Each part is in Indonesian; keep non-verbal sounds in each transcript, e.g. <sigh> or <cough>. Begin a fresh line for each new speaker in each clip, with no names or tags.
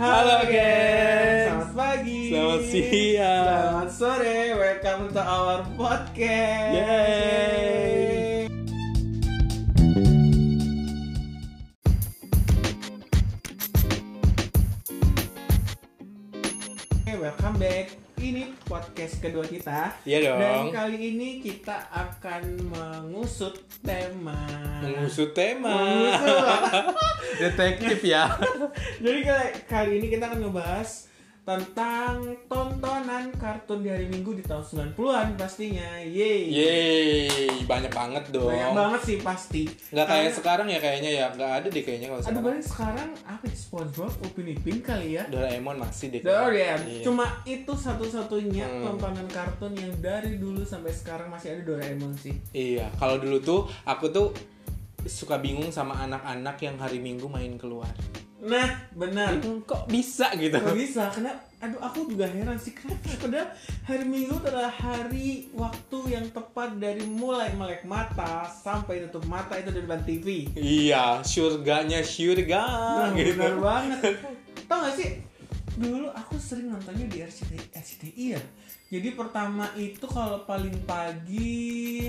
Halo guys.
Selamat pagi.
Selamat siang.
Selamat sore. Welcome to our podcast.
Yeay.
Yeay. Welcome back. Ini podcast kedua kita. Dan
Iya dong.
kali ini kita akan mengusut tema.
Mengusut tema.
Mengusut.
Detektif ya.
Jadi kali, kali ini kita akan ngebahas tentang tontonan kartun di hari Minggu di tahun 90-an pastinya. Yeay.
<laughs> Yeay, banyak banget dong.
Banyak banget sih pasti.
Nggak kayak
Karena-
sekarang ya kayaknya ya. Nggak ada deh kayaknya kalau
Aduh
sekarang.
paling sekarang apa ya, SpongeBob, Upin Ipin kali ya.
Doraemon masih deh.
Doraemon.
Iya.
Cuma itu satu-satunya
Hmm.
tontonan kartun yang dari dulu sampai sekarang masih ada Doraemon sih.
Iya, kalau dulu tuh aku tuh suka bingung sama anak-anak yang hari Minggu main keluar.
Nah, benar.
Hmm, Kok bisa gitu? <laughs>
Gak bisa, karena aduh aku juga heran sih kenapa padahal hari Minggu itu adalah hari waktu yang tepat dari mulai melek mata sampai tutup mata itu di depan TV.
Iya, surganya surga
Nah,
gitu.
benar
<laughs>
banget. Tau gak sih? Dulu aku sering nontonnya di RCTI, RCTI ya. Jadi pertama itu kalau paling pagi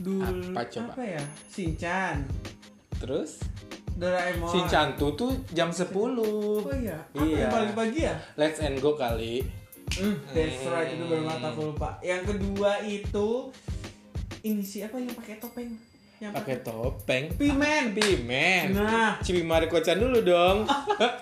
dulu
Apa coba?
apa ya? Shinchan,
Terus
Doraemon.
Shinchan tuh tuh jam 10.
Oh iya, apa
Iya.
yang paling pagi ya?
Let's and go kali.
Hmm, that's
Hmm.
right itu bermata aku lupa. Yang kedua itu ini siapa yang pakai topeng? Yang pakai
Pakai topeng.
pimen.
Pimen.
Nah,
Cimimari kocan dulu
<laughs>
dong.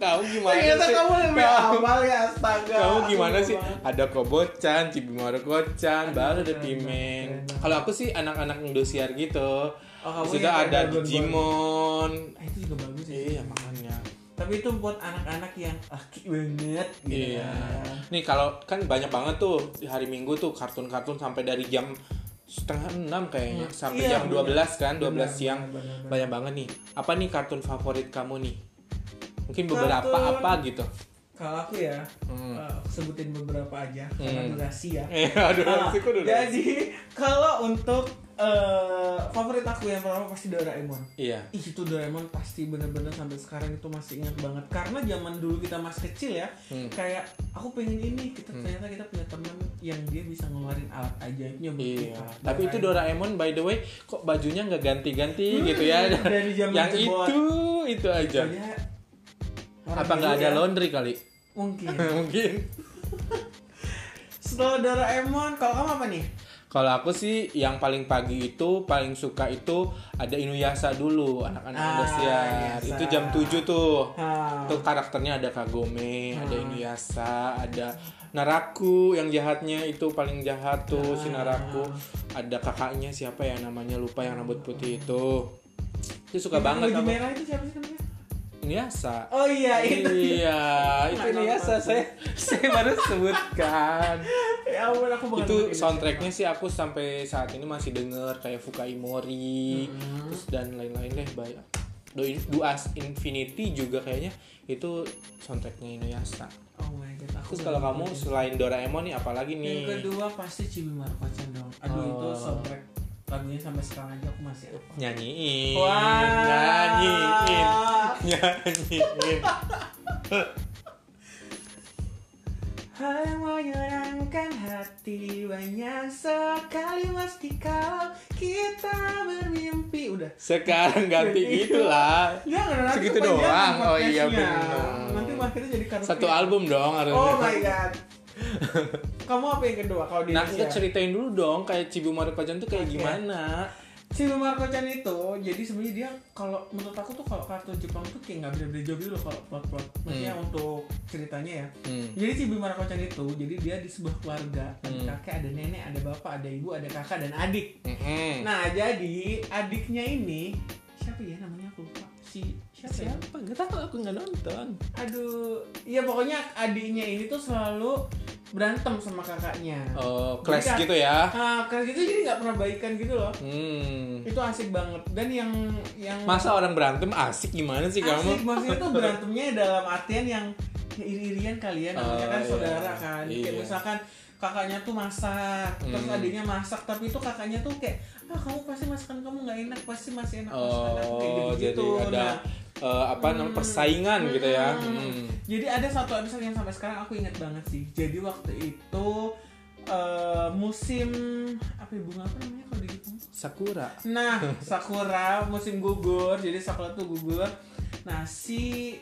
Tahu gimana
ternyata
sih?
kamu lebih
Kamu-
awal ya astaga.
Kamu
Aku
gimana
lupa
sih?
banget.
Ada kobocan, cimimari kocan,
Aduh,
baru ada
keren banget,
pimen.
keren banget.
Kalau aku sih anak-anak Indosiar gitu.
Oh, kamu yang
Sudah ada
kayak Dragon Ball.
Digimon.
Ah, itu juga bagus sih.
Iya, makanya.
Tapi itu buat anak-anak yang aki banget gitu.
Iya.
kan.
Nih kalau kan banyak banget tuh di hari Minggu tuh kartun-kartun sampai dari jam setengah enam kayaknya
Hmm.
sampai
Iya,
jam
bener.
12 kan 12
Benar,
siang
benar, benar, benar.
banyak banget nih apa nih kartun favorit kamu nih mungkin beberapa
Kartun.
apa gitu <laughs>
Kalau aku ya,
Hmm.
eh, aku sebutin beberapa aja karena
Hmm.
durasi
<laughs>
ya.
eh aduh
Ah,
sih, kok dulu
jadi kalau untuk eh, favorit aku yang pertama pasti Doraemon.
iya
Ih, itu Doraemon pasti bener-bener sampai sekarang itu masih ingat banget karena zaman dulu kita masih kecil ya
Hmm.
kayak aku pengen ini kita ternyata kita punya teman yang dia bisa ngeluarin alat ajaibnya buat
Iya,
kita.
tapi itu Doraemon by the way kok bajunya nggak ganti-ganti
Hmm,
gitu ya?
dari zaman
Yang
jebot.
itu itu aja.
Soalnya orang
Apa nggak
dulu
ada
ya,
laundry kali? <laughs>
mungkin
Mungkin.
setelah Doraemon kalau kamu apa nih
Kalau aku sih yang paling pagi itu paling suka itu ada Inuyasha dulu anak-anak
Ah,
Indosiar.
Inuyasha.
Itu jam 7 tuh.
Ah,
Itu karakternya ada Kagome, ada
Ah.
Inuyasha, ada Naraku yang jahatnya itu paling jahat tuh si
Ah.
Naraku. Ada kakaknya siapa ya namanya lupa yang rambut putih itu. Itu suka
yang baju
banget sama
merah itu siapa sih namanya
Inuyasha.
Hmm, oh iya itu <laughs>
Iya, itu
Nggak
Inuyasha
nonton.
saya saya baru sebutkan
ya ampun aku <laughs> bukan
itu
ngerti.
soundtracknya sih aku sampai saat ini masih denger kayak Fukai Mori
Mm-mm.
terus dan lain-lain deh banyak Do Duas Infinity juga kayaknya itu soundtracknya Inuyasha
oh my god aku
terus
baru
kalau kamu
ngerti.
selain Doraemon nih apalagi
Yang
nih
kedua pasti Cimimar Kocan dong. Aduh itu
Oh.
soundtrack lagunya sampai sekarang aja aku masih apa.
nyanyiin
Wah.
nyanyiin nyanyiin
Hal yang menyenangkan hati banyak sekali pasti kalau kita bermimpi udah.
sekarang ganti gitulah
Jangan nanti
Segitu
kepanjangan
doang. Oh,
podcastnya.
iya, benar.
Nanti akhirnya jadi karaoke.
satu album dong harusnya
Oh my
<laughs>
god. Kamu apa yang kedua kalau Iya. di
nah
Indonesia?
kita ceritain dulu dong kayak Cibu Kocan tuh kayak
Oke.
gimana
si Marco Chan itu jadi sebenarnya dia kalau menurut aku tuh kalau kartun Jepang tuh kayak nggak beda-beda jauh gitu loh kalau plot-plot maksudnya untuk ceritanya ya
Hmm.
jadi si Bima Marco Chan itu jadi dia di sebuah keluarga ada
Hmm.
kakek ada nenek ada bapak ada ibu ada kakak dan adik
Mm-mm.
nah jadi adiknya ini siapa ya namanya aku lupa si siapa, ya?
siapa nggak tahu aku nggak nonton
aduh ya pokoknya adiknya ini tuh selalu berantem sama kakaknya
Oh, clash
Jadi,
gitu ya.
nah karena gitu jadi nggak pernah baikan gitu loh
Hmm.
itu asik banget dan yang yang
Masa orang berantem asik gimana sih kamu?
Asik, maksudnya tuh berantemnya dalam artian yang ya iri-irian kalian namanya
Oh,
kan
iya.
saudara kan kayak
Iya.
misalkan kakaknya tuh masak terus
Hmm.
adiknya masak tapi itu kakaknya tuh kayak ah kamu pasti masakan kamu nggak enak pasti masih enak masakan aku," kayak
Oh, jadi
gitu-gitu.
ada eh, apa namanya persaingan gitu ya Hmm.
Jadi ada satu episode yang sampai sekarang aku ingat banget sih. Jadi waktu itu eh, musim apa ya, bunga apa namanya kalau di Jepang?
Sakura
Nah, Sakura musim gugur. Jadi Sakura tuh gugur. Nah, si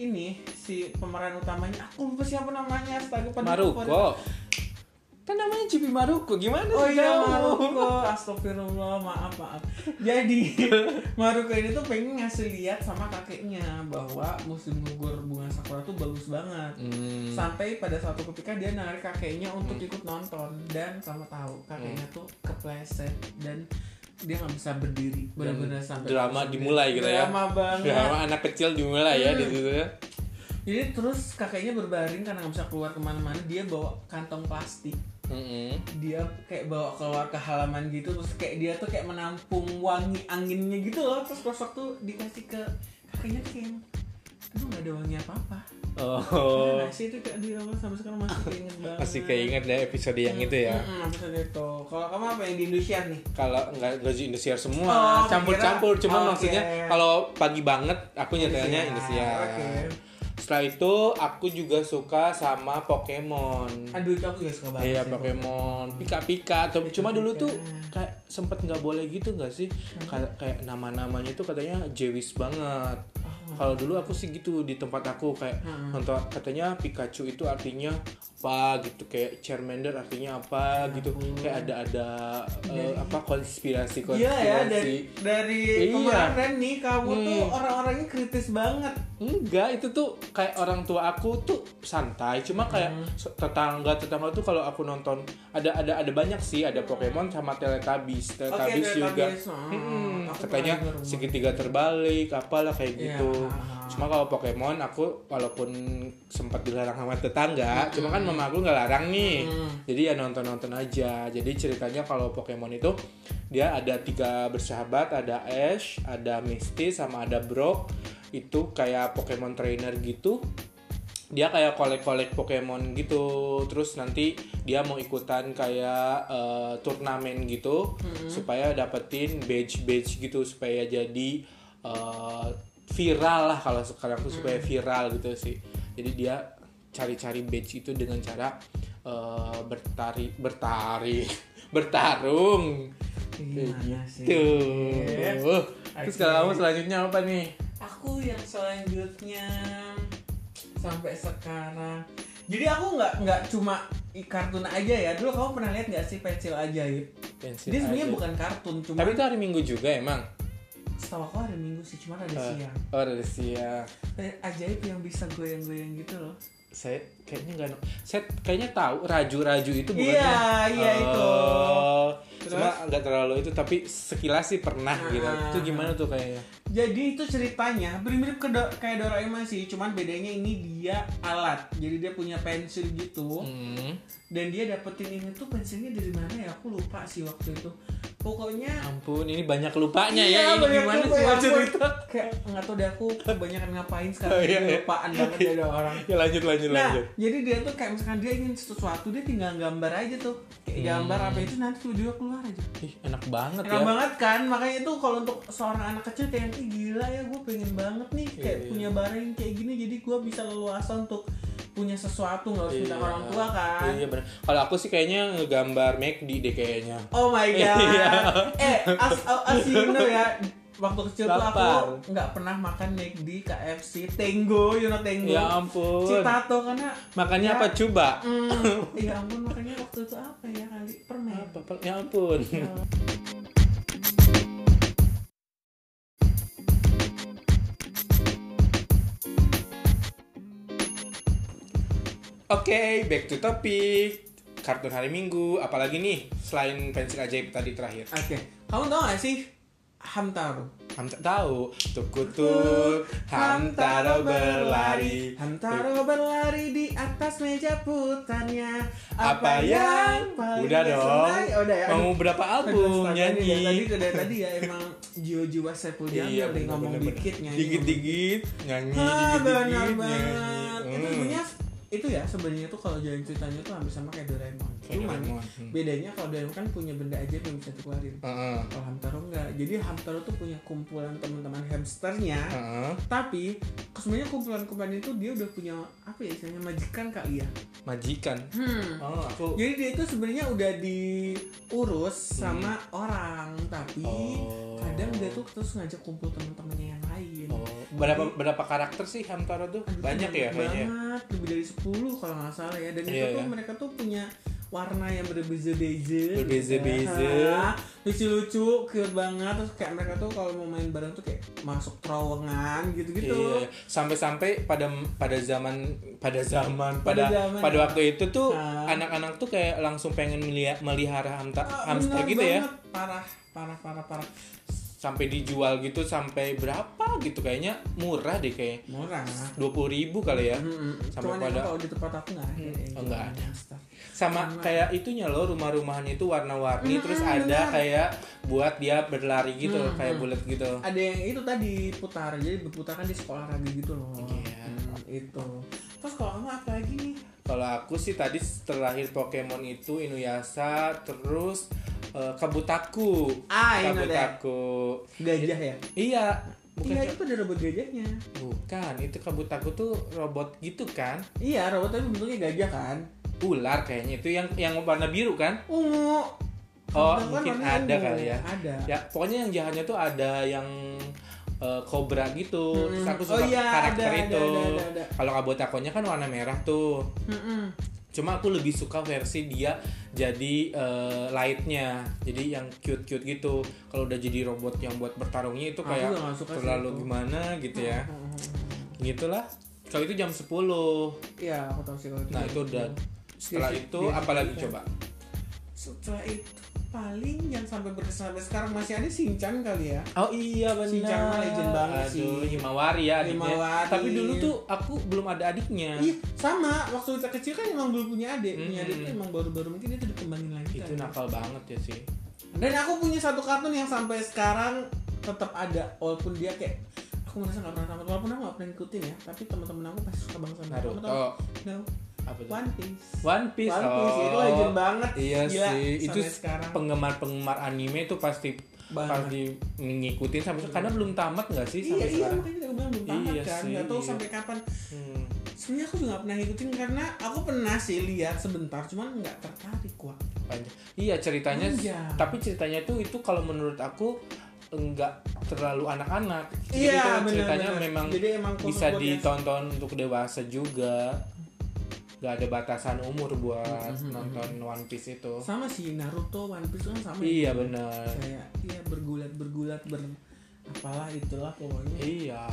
ini si pemeran utamanya aku lupa siapa namanya astaga padahal favorit.
Maruko kan namanya Cipi Maruko gimana
oh
sih
iya
kamu?
Maruko astagfirullah maaf maaf jadi Maruko ini tuh pengen ngasih lihat sama kakeknya bahwa musim gugur bunga sakura tuh bagus banget
Hmm.
sampai pada suatu ketika dia narik kakeknya untuk ikut nonton dan sama tahu kakeknya
Hmm.
tuh kepleset dan dia nggak bisa berdiri benar-benar sampai
drama dimulai gitu ya.
drama banget Hmm.
Drama anak kecil dimulai ya di situ ya.
jadi terus kakeknya berbaring karena nggak bisa keluar kemana-mana dia bawa kantong plastik
Mm-mm.
dia kayak bawa keluar ke halaman gitu terus kayak dia tuh kayak menampung wangi anginnya gitu loh terus kosok tuh dikasih ke kakeknya tuh kayak aduh nggak ada wangi apa apa
Oh,
nah, sih itu kayak di rumah sampai sekarang masih keinget banget
<laughs>
Hmm.
masih keinget deh episode yang itu ya.
Mm-mm, episode itu kalau kamu apa yang di Indonesia nih
Kalau nggak gaji
Oh,
Indosiar
iya,
semua, campur-campur.
kira-
Cuman
oke.
maksudnya kalau pagi banget aku nyetelnya
Indosiar,
Indosiar.
oke.
Setelah itu aku juga suka sama Pokemon.
aduh itu aku juga suka banget sih.
Iya
gitu.
Pokemon pika-pika. Tuh,
Pika-pika.
Cuma dulu tuh kayak sempet nggak boleh gitu nggak sih? Kayak kayak nama-namanya tuh katanya Jewis banget.
Oh.
Kalau dulu aku sih gitu di tempat aku kayak
Hmm.
nonton katanya Pikachu itu artinya apa gitu kayak Charmander artinya apa gitu
ampun.
kayak ada ada
Dari-
apa konspirasi
hmm.
konspirasi.
Iya ya dari dari
Iya.
kemarin nih kamu tuh
Hmm.
orang-orangnya kritis banget.
Enggak, itu tuh kayak orang tua aku tuh santai. Cuma kayak so- tetangga tetangga tuh kalau aku nonton ada ada ada banyak sih, ada Pokemon sama Teletubbies. Teletubbies juga.
Teletubbies, oh.
Mm-mm,
Aku
katanya
pernah dengar.
segitiga terbalik, apalah kayak
Iya.
gitu. Cuma kalau Pokemon aku walaupun sempat dilarang sama tetangga,
Hmm.
cuma kan mama aku nggak larang nih. Jadi ya nonton-nonton aja. Jadi ceritanya kalau Pokemon itu dia ada tiga bersahabat, ada Ash, ada Misty, sama ada Brock. Itu kayak Pokemon trainer gitu. Dia kayak kolek-kolek Pokemon gitu. Terus nanti dia mau ikutan kayak eh, turnamen gitu
Hmm.
supaya dapetin badge-badge gitu supaya jadi eh, viral lah kalau sekarang tuh supaya
Hmm.
viral gitu sih. Jadi dia cari-cari badge itu dengan cara eh, bertari bertari <laughs> bertarung
Gimana sih?
Iya. tuh
Yes.
terus kalau kamu selanjutnya apa nih
Aku yang selanjutnya sampai sekarang. Jadi aku nggak nggak cuma i- kartun aja ya. Dulu kamu pernah lihat nggak sih pensil ajaib?
pensil
Dia sebenarnya
ajaib.
bukan kartun, cuma
tapi itu hari minggu juga emang
setahu aku hari Minggu sih, ya. cuma ada
Eh,
siang.
oh ada siang
Eh, Ajaib yang bisa goyang-goyang gitu loh.
saya kayaknya nggak no- saya kayaknya tahu raju-raju itu bukannya
Iya, iya itu.
Oh,
Terus?
cuma nggak terlalu itu tapi sekilas sih pernah gitu
Ah.
itu gimana tuh kayaknya
Jadi itu ceritanya mirip-mirip ke Do- kayak Doraemon sih, cuman bedanya ini dia alat. Jadi dia punya pensil gitu
hmm.
dan dia dapetin ini tuh pensilnya dari mana ya? Aku lupa sih waktu itu. Pokoknya iya,
ampun ini banyak lupanya ya ini
banyak
gimana
lupa
sih
ya, ampun.
maksud
<laughs>
cerita
Kayak nggak tau deh aku kebanyakan ngapain
Oh,
sekarang.
iya,
Jadi
iya. <laughs>
lupaan banget ya ada orang.
ya lanjut lanjut
Nah,
lanjut
jadi dia tuh kayak misalkan dia ingin sesuatu dia tinggal gambar aja tuh.
Hmm.
Kayak gambar apa itu nanti video keluar aja.
Ih, enak banget
Enak
ya
banget kan, makanya itu kalau untuk seorang anak kecil kayak "Ih, gila ya, gue pengen banget nih kayak
Iya.
punya barang yang kayak gini, jadi gue bisa leluasa untuk punya sesuatu nggak harus minta
Iya.
orang tua kan.
Iya benar. Kalau aku sih kayaknya ngegambar McD deh kayaknya.
Oh my god,
Iya.
eh as, as you know ya, waktu kecil tuh
Lapar.
aku nggak pernah makan McD, KFC, Tenggo, you know Tenggo,
Ya ampun.
Citato karena
Makannya
Ya.
apa coba?
mm, ya ampun makanya waktu itu apa ya kali permen.
Apa, apa- Ya ampun. Oke, back to topic. Kartun hari Minggu, apalagi nih selain pensil ajaib tadi terakhir.
Oke, kamu tau gak sih Hamtaro?
Hamta tahu, tukutut, Hamtaro berlari.
Hamtaro berlari di atas meja putarnya
Apa yang
paling
udah dong?
disenangi- Oh, udah ya
Mau berapa album
Tadi ya, tadi
nyanyi? Iya,
udah tadi ya emang jiwa-jiwa Saipul Jamil
bener,
nih, ngomong
bener, bener.
dikit nyanyi.
Dikit-dikit nyanyi,
Ah,
dikit-dikit
benar
nyanyi.
banget. Itu
Hmm.
lagunya itu ya sebenarnya tuh kalau jalan ceritanya tuh hampir sama kayak Doraemon.
Kayak
Cuman
Doraemon. Hmm.
bedanya kalau Doraemon kan punya benda aja yang bisa dikeluarin.
Heeh.
Kalau Hamtaro enggak. Jadi Hamtaro tuh punya kumpulan teman-teman hamsternya.
Heeh.
Tapi sebenarnya kumpulan-kumpulan itu dia udah punya apa ya istilahnya majikan kali ya.
Majikan.
Hmm.
Oh, aku
Jadi dia itu sebenarnya udah diurus sama orang, tapi
Hmm. Oh.
kadang dia tuh terus ngajak kumpul teman-temannya yang lain.
Oh, berapa berapa karakter sih Hamtaro tuh?
Anjing,
Banyak ya kayaknya.
banget lebih dari 10 kalau nggak salah ya dan
Iya,
itu tuh
ya.
mereka tuh punya warna yang berbeza-beza
Berbeza-beza.
Ya, <laughs> lucu-lucu cute banget terus kayak mereka tuh kalau mau main bareng tuh kayak masuk terowongan gitu-gitu
Iya, sampai-sampai pada pada zaman pada zaman
Pada
pada
zaman.
pada waktu itu tuh
Ah.
anak-anak tuh kayak langsung pengen melihat melihara hamta-
Ah,
hamster
bener
gitu ya.
banget. parah parah parah parah
Sampai dijual gitu sampai berapa gitu kayaknya murah deh kayak
murah
20.000 ribu kali ya.
Mm-mm. Cuman
Sampai
emang
pada-
kalau di tempat aku nggak ada yang
Oh, nggak
jualan
ada.
hamster.
Sama kayak itunya loh rumah-rumahan itu
Mm-mm,
warna-warni terus
Ah,
ada
benar. Hmm,
kayak buat dia berlari gitu loh, kayak bulat gitu.
ada yang itu tadi putar jadi berputar kan di sekolah raga gitu loh
Iya.
Hmm, itu terus kalau kamu apa lagi nih
Kalau aku sih tadi terakhir Pokemon itu Inuyasha terus eh, Kabutaku.
Ah, ini ada
Kabutaku.
gajah ya.
Iya, bukan
Iya itu ada robot gajahnya.
bukan. Itu Kabutaku tuh robot gitu kan?
Iya robot tapi bentuknya gajah kan.
Ular kayaknya itu yang yang warna biru kan?
Ungu.
Oh,
Kebetulan
mungkin
warnanya
ada
ungu.
kali ya.
Ada.
Ya, pokoknya yang jahatnya tuh ada yang eh, kobra gitu. Terus
Hmm.
aku suka
Oh, iya, ada,
karakter
ada,
itu.
ada, ada, ada.
Kalau Kabutakonya kan warna merah tuh.
Mm-mm.
cuma aku lebih suka versi dia jadi eh, lightnya jadi yang cute cute gitu kalau udah jadi robot yang buat bertarungnya itu
Aku
kayak
juga nggak suka sih
terlalu
itu.
gimana gitu ya gitulah kalau itu jam 10
Iya aku tahu sih kalau gitu. itu.
nah itu udah setelah
Dia-
itu
dia-
apalagi
dia-
coba
Setelah itu paling yang sampai berkesan sampai sekarang masih ada Shinchan kali ya.
Oh iya benar.
Shinchan mah legend banget
Aduh,
sih.
Himawari ya adiknya.
Himawari.
Tapi dulu tuh aku belum ada adiknya.
Iya sama waktu kita kecil kan emang belum punya adik. Punya
Mm-mm.
adik tuh emang baru-baru mungkin itu dikembangin lagi.
Itu
kan.
nakal banget ya sih.
Dan aku punya satu kartun yang sampai sekarang tetap ada walaupun dia kayak aku merasa nggak pernah tamat walaupun aku nggak pernah ikutin ya tapi teman-teman aku pasti suka banget sama Kamu tau?
Naruto.
No.
Apa tuh?
One Piece.
One Piece.
One Piece, ya, itu
oh.
legend banget.
Iya
Gila,
sih,
sampai
itu
sekarang.
penggemar-penggemar anime itu pasti
Banget.
pasti ngikutin sampai karena belum tamat nggak sih
Iya
sampai
iya
sekarang?
makanya aku bilang belum tamat
Iya
kan
sih,
nggak tahu
iya.
sampai kapan.
Hmm.
Sebenarnya aku juga nggak pernah ngikutin karena aku pernah sih lihat sebentar cuman nggak tertarik wah.
Panjang. Iya ceritanya,
Panjang.
tapi ceritanya itu itu kalau menurut aku nggak terlalu anak-anak. Jadi
Iya,
itu
benar,
ceritanya
benar.
memang
Jadi emang khusus
bisa
buat yang-
ditonton untuk dewasa juga. Gak ada batasan umur buat
Hmm,
nonton One Piece itu.
Sama sih Naruto One Piece kan sama. ya.
Iya benar.
Kayak iya bergulat bergulat ber apalah itulah pokoknya.
Iya.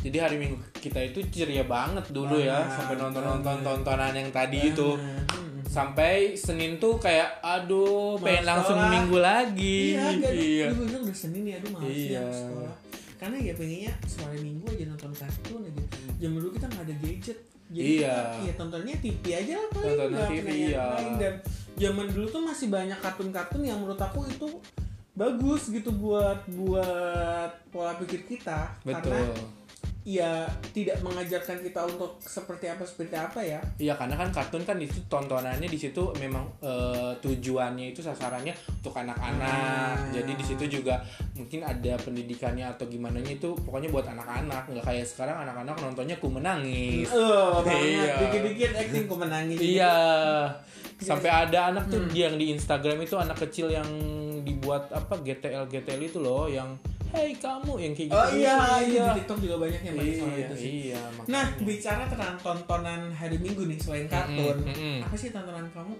Jadi hari Minggu kita itu ceria banget dulu ya
Banget,
sampai
banget.
nonton-nonton tontonan yang tadi itu.
Hmm.
Sampai Senin tuh kayak aduh pengen
Masalah.
langsung minggu lagi.
Iya, gak,
Iya.
gue bilang udah Senin ya, aduh malas
Iya.
ya harus sekolah. Karena ya pengennya sore minggu aja nonton kartun aja. Jam dulu kita nggak ada gadget. Jadi
Iya.
kita- ya tontonnya TV aja lah paling
Tontonan
nggak
TV,
pernah yang
iya.
lain. Dan zaman dulu tuh masih banyak kartun-kartun yang menurut aku itu bagus gitu buat buat pola pikir kita karena
Betul.
ya tidak mengajarkan kita untuk seperti apa seperti apa ya
Iya karena kan kartun kan itu tontonannya di situ memang eh, tujuannya itu sasarannya untuk
Ah.
anak-anak. Jadi di situ juga mungkin ada pendidikannya atau gimana itu pokoknya buat anak-anak nggak kayak sekarang anak-anak nontonnya ku menangis.
Eh, banget
Iya.
dikit-dikit acting kok menangis
Iya. Sampai ada anak
Hmm.
tuh dia yang di Instagram itu anak kecil yang dibuat apa GTL GTL itu loh yang hey kamu yang kayak gitu.
Oh iya,
iya.
di TikTok juga banyak yang pakai soal
Iya,
itu sih.
iya, makanya.
Nah, bicara tentang tontonan hari Minggu nih selain kartun,
Mm-mm, mm-mm.
apa sih tontonan kamu?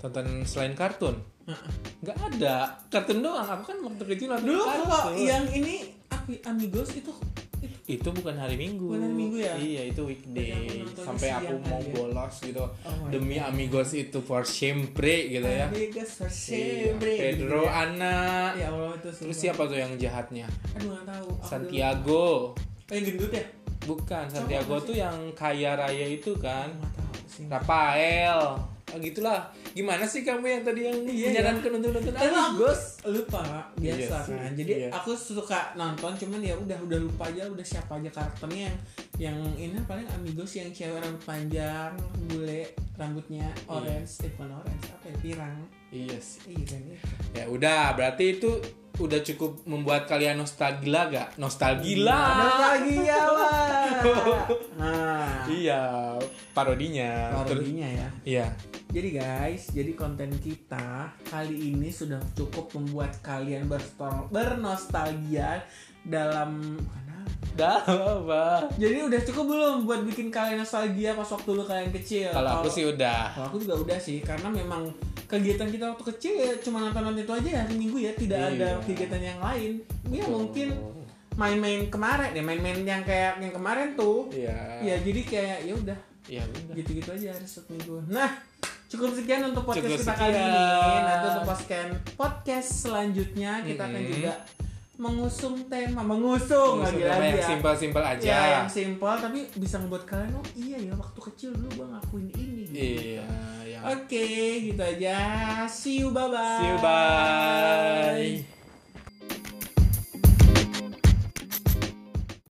tonton selain kartun.
Heeh.
nggak ada. Kartun doang. Aku kan waktu kecil nonton
Dulu
kartun.
kalau yang ini Ami- Amigos itu oh itu
itu bukan hari Minggu.
Bukan hari Minggu ya?
Iya, itu
Berarti
weekday.
aku nontonnya
Sampai
siang
aku mau
kali ya?
bolos gitu.
Oh my
Demi amigos itu for siempre gitu ya.
Amigos for
Iya,
sempre.
Pedro,
Gitu ya.
Ana.
Ya Allah itu
Terus
siapa?
siapa tuh yang jahatnya?
Aduh nggak tahu. Aku
Santiago.
dulu- Eh gendut ya?
Bukan, Santiago
nggak sih?
tuh yang kaya raya itu kan.
Nggak tahu sih.
Rafael. Ah, gitulah gimana sih kamu yang tadi yang
Iya,
menyarankan untuk nonton
Tapi
anime
aku
bos
lupa Kak. biasa
Iya sih,
kan. Jadi
iya.
aku suka nonton cuman ya udah udah lupa aja udah siapa aja karakternya yang yang ini paling amigos yang cewek rambut panjang bule rambutnya orange eh bukan orange apa ya pirang
iya sih
iya kan ya.
ya udah berarti itu udah cukup membuat kalian nostalgia gak nostalgia
Ada lagi ya
<laughs>
lah nah
iya parodinya Terus-
parodinya ya
iya
Jadi guys, jadi konten kita kali ini sudah cukup membuat kalian berstol- bernostalgia dalam mana?
dah apa
Jadi udah cukup belum buat bikin kalian nostalgia pas waktu lu kalian kecil?
kalau aku sih udah
kalau aku juga udah sih, karena memang kegiatan kita waktu kecil ya cuma nonton nonton itu aja ya seminggu ya, tidak ada
Iya.
kegiatan yang lain. Ya mungkin main-main kemarin, ya main-main yang kayak yang kemarin tuh.
iya
Ya jadi kayak ya udah
iya udah
gitu-gitu aja hari Sabtu minggu. Nah, cukup sekian untuk podcast
Cukup
kita kali
sekian.
ini. Nanti untuk podcast podcast selanjutnya kita akan
Mm-mm.
juga mengusung tema, mengusung lagi
Maksudnya
lagi
yang simpel-simpel aja Iya,
Ya, yang simpel tapi bisa membuat kalian oh iya ya waktu kecil dulu gua ngakuin ini. gitu.
iya yang
Oke, gitu aja. See you bye bye.
see you bye